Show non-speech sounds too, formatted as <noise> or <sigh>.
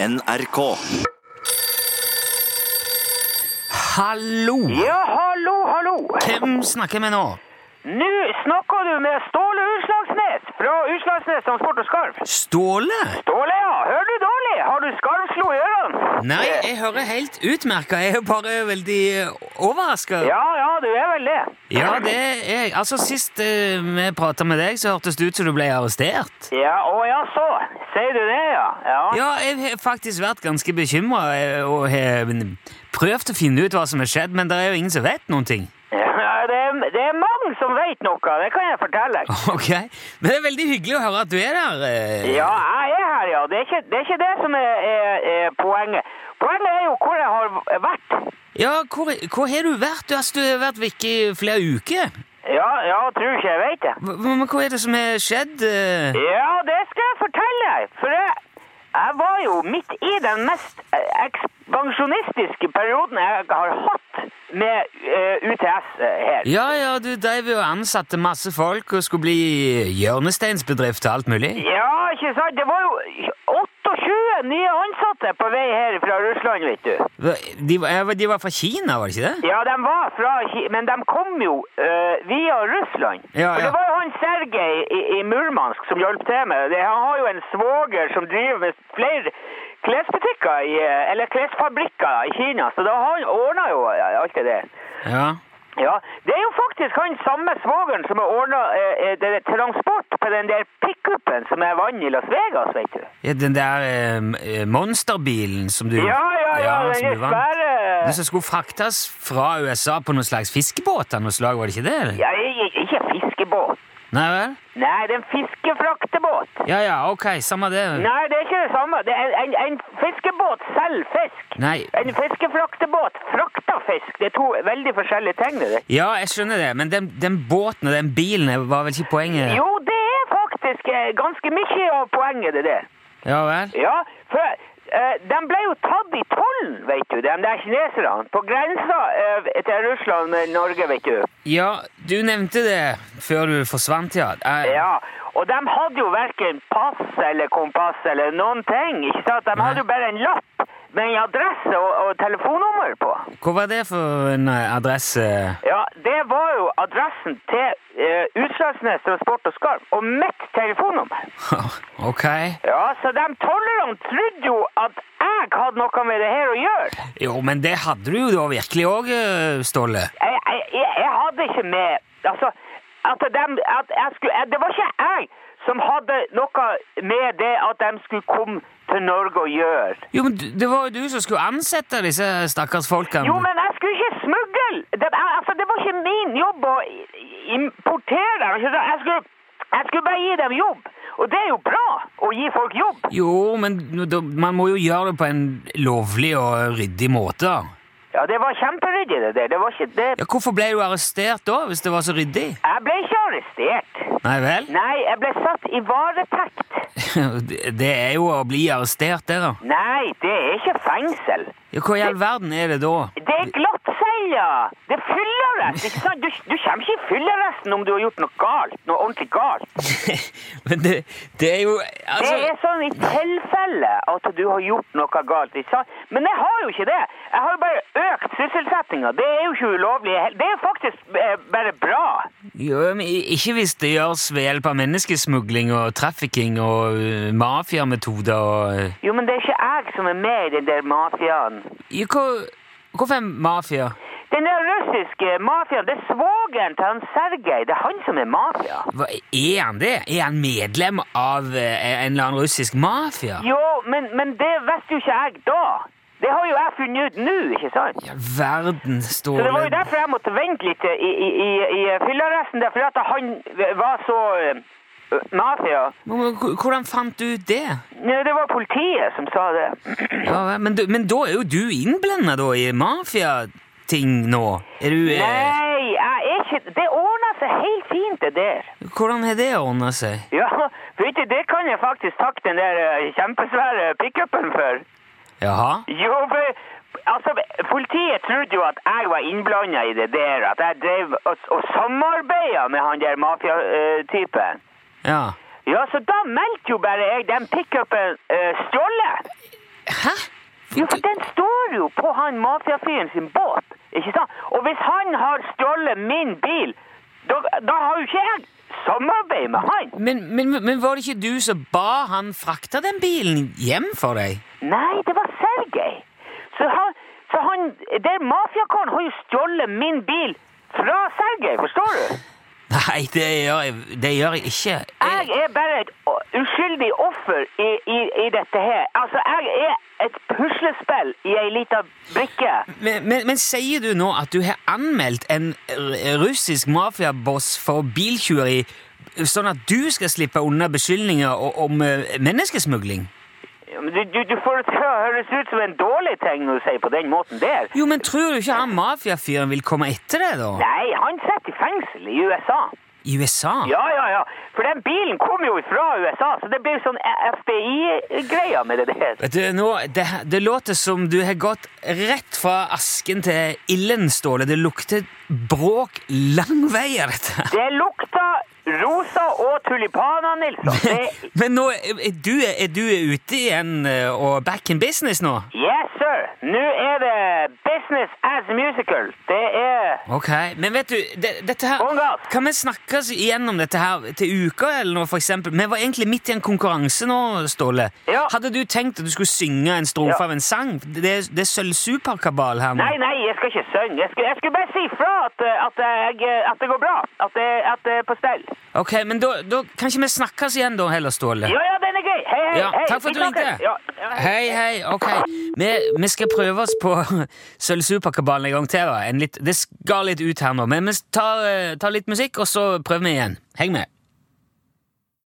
NRK. Hallo! Ja, hallo, hallo. Hvem snakker vi nå? Nå snakker du med Ståle Utslagsnes fra Utslagsnes Transport og Skarv. Ståle? Ståle, ja. Hører du dårlig? Har du skarvslo i ørene? Nei, jeg hører helt utmerka. Jeg er bare veldig overraska. Ja, ja, du er vel det. det er jeg. Altså, sist eh, vi prata med deg, så hørtes det ut som du ble arrestert. Ja, å ja, så. Sier du det, ja? Ja. Ja, jeg har faktisk vært ganske bekymra og har mm, prøvd å finne ut hva som har skjedd, men det er jo ingen som vet noen ting. <laughs> ja det, er, det er mange som vet noe, det kan jeg fortelle. Ok, Men det er veldig hyggelig å høre at du er der. eh. Ja, jeg er her, ja. Det er ikke det, er ikke det som er, er, er poenget. Poenget er jo hvor jeg har vært. ja hvor, hvor har du vært? Du, altså, du har vært vekke i flere uker. Ja, ja, tror ikke jeg vet det. Hva, men hva er det som har skjedd? eh? Ja, det skal jeg fortelle. For jeg, jeg var jo midt i den mest eh, ekspansjonistiske perioden jeg har hatt med eh, UTS her. Ja, ja, du dreiv jo og ansatte masse folk og skulle bli hjørnesteinsbedrift og alt mulig. Ja, ikke sant? Det var jo 28 nye ansatte på vei her fra Russland, vet du. De, var- eh, de var fra Kina, var det ikke det? Ja, de var fra Ki- Men de kom jo eh, via Russland. Ja, For ja. det var jo han Sergej i, i Murmansk som hjalp til med det. Han har jo en svoger som driver med flere klesbutikker i, eh, Eller klesfabrikker i Kina, så da har han ordna jo eh, alt det der. Ja. Ja, Det er jo faktisk han samme svogeren som har eh, ordna transport på den der pickupen som jeg vant i Las Vegas, vet du. ja den der eh, eh, monsterbilen som du Ja, ja, ja, den som er du vant. svære Den som skulle fraktes fra USA på noen slags fiskebåt av noe slag, var det ikke det? eller? ja, i- i- Ikke fiskebåt. Nei vel? Nei, det er en fiskefraktebåt. Ja ja, ok, samme det. Nei, det er ikke det samme. Det er en, en, en fiskebåt selger fisk. Nei. En fiskefraktebåt frakter fisk. Det er to veldig forskjellige ting. det der. Ja, jeg skjønner det, men den, den båten og den bilen var vel ikke poenget? Jo, det er faktisk eh, ganske mye av poenget, det der. Ja vel? Ja, for eh, de ble jo tatt i tollen, vet du, de der kineserne. På grensa eh, til Russland og Norge, vet du. Ja, du nevnte det før du forsvant, ja. Eh, Ja, og de hadde jo hverken pass eller kompass eller noen ting, ikke sant? De Nei. hadde jo bare en lapp med en adresse og, og telefonnummer på. Hva var det for en eh, adresse? <laughs> Ja, det var jo adressen til eh, Utslagsnes Transport og Skarv, og mitt telefonnummer. ok. Ja, så de tollerne trodde jo at jeg hadde noe med det her å gjøre. Jo, men det hadde du jo da virkelig òg, Ståle. Jeg, jeg, jeg, jeg hadde ikke med Altså, at de at jeg skulle, jeg, Det var ikke jeg som hadde noe med det at de skulle komme til Norge og gjøre. Jo, men du- det var jo du som skulle ansette disse stakkars folkene. Jo, men jeg skulle ikke smugle! Det, al- altså, det var ikke min jobb å i- importere dem. ikke sant? Jeg skulle, jeg skulle bare gi dem jobb. Og det er jo bra å gi folk jobb. Jo, men nå- da- man må jo gjøre det på en lovlig og ryddig måte. da. Ja, det var kjemperyddig, det der. Det var ikke det. Ja, Hvorfor ble du arrestert da, hvis det var så ryddig? Jeg ble ikke arrestert. Nei vel? <laughs> Nei, jeg ble satt i varetekt. Det det er jo å bli arrestert, det, da. Nei, det er ikke fengsel. Ja, Hva i all verden er det da? <laughs> Det er glattseila! Det er fyllerest, ikke sant? Du, du kommer ikke i fylleresten om du har gjort noe galt. Noe ordentlig galt. Men det, det er jo Det Altså er sånn i tilfelle at du har gjort noe galt, ikke sant? Men jeg har jo ikke det. Jeg har jo bare økt sysselsettinga. Det er jo ikke ulovlig. Det er jo faktisk eh, bare bra. Jo, men i- ikke hvis det gjøres ved hjelp av menneskesmugling og trafficking og eh, mafiametoder og eh, Jo, men det er ikke jeg som er med i den der mafiaen. i hva- Hvorfor er mafia? Den der russiske mafiaen, det er svogeren til han Sergej. Det er han som er mafia. Hva, er han det? Er han medlem av eh, en eller annen russisk mafia? Jo, men, men det visste jo ikke jeg da. Det har jo jeg funnet ut nå, ikke sant? Ja, verden, Så det var Ståle. jo derfor jeg måtte vente litt i, i, i, i fyllearresten, der, fordi at han var så eh, mafia. Men h- Hvordan fant du ut det? Nei, Det var politiet som sa det. Ja, vel, men, du- men da er jo du innblanda da i mafiating nå. Er du eh, Nei, jeg er ikke Det ordna seg helt fint, det der. Hvordan har det ordna seg? Ja, <laughs> vet du, det kan jeg faktisk takke den der eh, kjempesvære pickupen for. Jaha? Jo, for, altså, politiet trodde jo at jeg var innblanda i det der. At jeg drev og, og samarbeida med han der eh, mafiatypen. Ja. Ja, så da meldte jo bare jeg den pickupen uh, eh, stjålet. Hæ? Jo, for den står jo på han mafiafyren sin båt, ikke sant? Og hvis han har stjålet min bil, da, da har jo ikke jeg samarbeid med han. Men, men, men var det ikke du som ba han frakte den bilen hjem for deg? Nei, det var Sergej. Så han, så han der mafiakaren har jo stjålet min bil fra Sergej, forstår du? Nei, det gjør jeg, det gjør jeg ikke. Jeg er bare et o- uskyldig offer i, i, i dette her. Altså, jeg er et puslespill i ei lita brikke. Men, men, men sier du nå at du har anmeldt en r- russisk mafiaboss for biltyveri, sånn at du skal slippe unna beskyldninger o- om eh, menneskesmugling? Men Du, du, du får det til å høres ut som en dårlig ting å si på den måten der. Jo, men tror du ikke han mafiafyren vil komme etter deg, da? Nei, han sitter i fengsel i USA. I USA? Ja, ja, ja. For den bilen kom jo fra USA, så det blir sånn FBI-greia med det der. Vet du, nå, det, det låter som du har gått rett fra asken til ilden, Ståle. Det lukter bråk lang vei av dette. Det lukter rosa og tulipaner, Nilsson. Det, Men nå, er er du, er du ute igjen eh, og back in business nå? yes, sir. Nå er det business as musical. Det er Ok, men vet du, det, dette her Kom, gass! Kan vi snakkes igjen om dette her til uka eller noe, for eksempel? Vi var egentlig midt i en konkurranse nå, Ståle. Ja. Hadde du tenkt at du skulle synge en strofe Ja. av en sang? Det, det er sølvsuperkabal her nå. Nei, nei, jeg skal ikke synge. Jeg, skal- jeg skulle bare si fra at, eh, at, jeg, at det går bra. At det, at det er på stell. Ok, men da, da kan ikke vi snakkes igjen da heller, Ståle? Ja, ja, den er gøy. Hei, hei, Ja, hei. takk for Vi at du ringte. snakkes. Ja, ja, Hei, hei, ok. Vi, vi skal prøve oss på <laughs> Sølvsuperkabalen en gang til. da. En litt, det skal litt ut her nå, men vi tar, eh, tar litt musikk, og så prøver vi igjen. Heng med.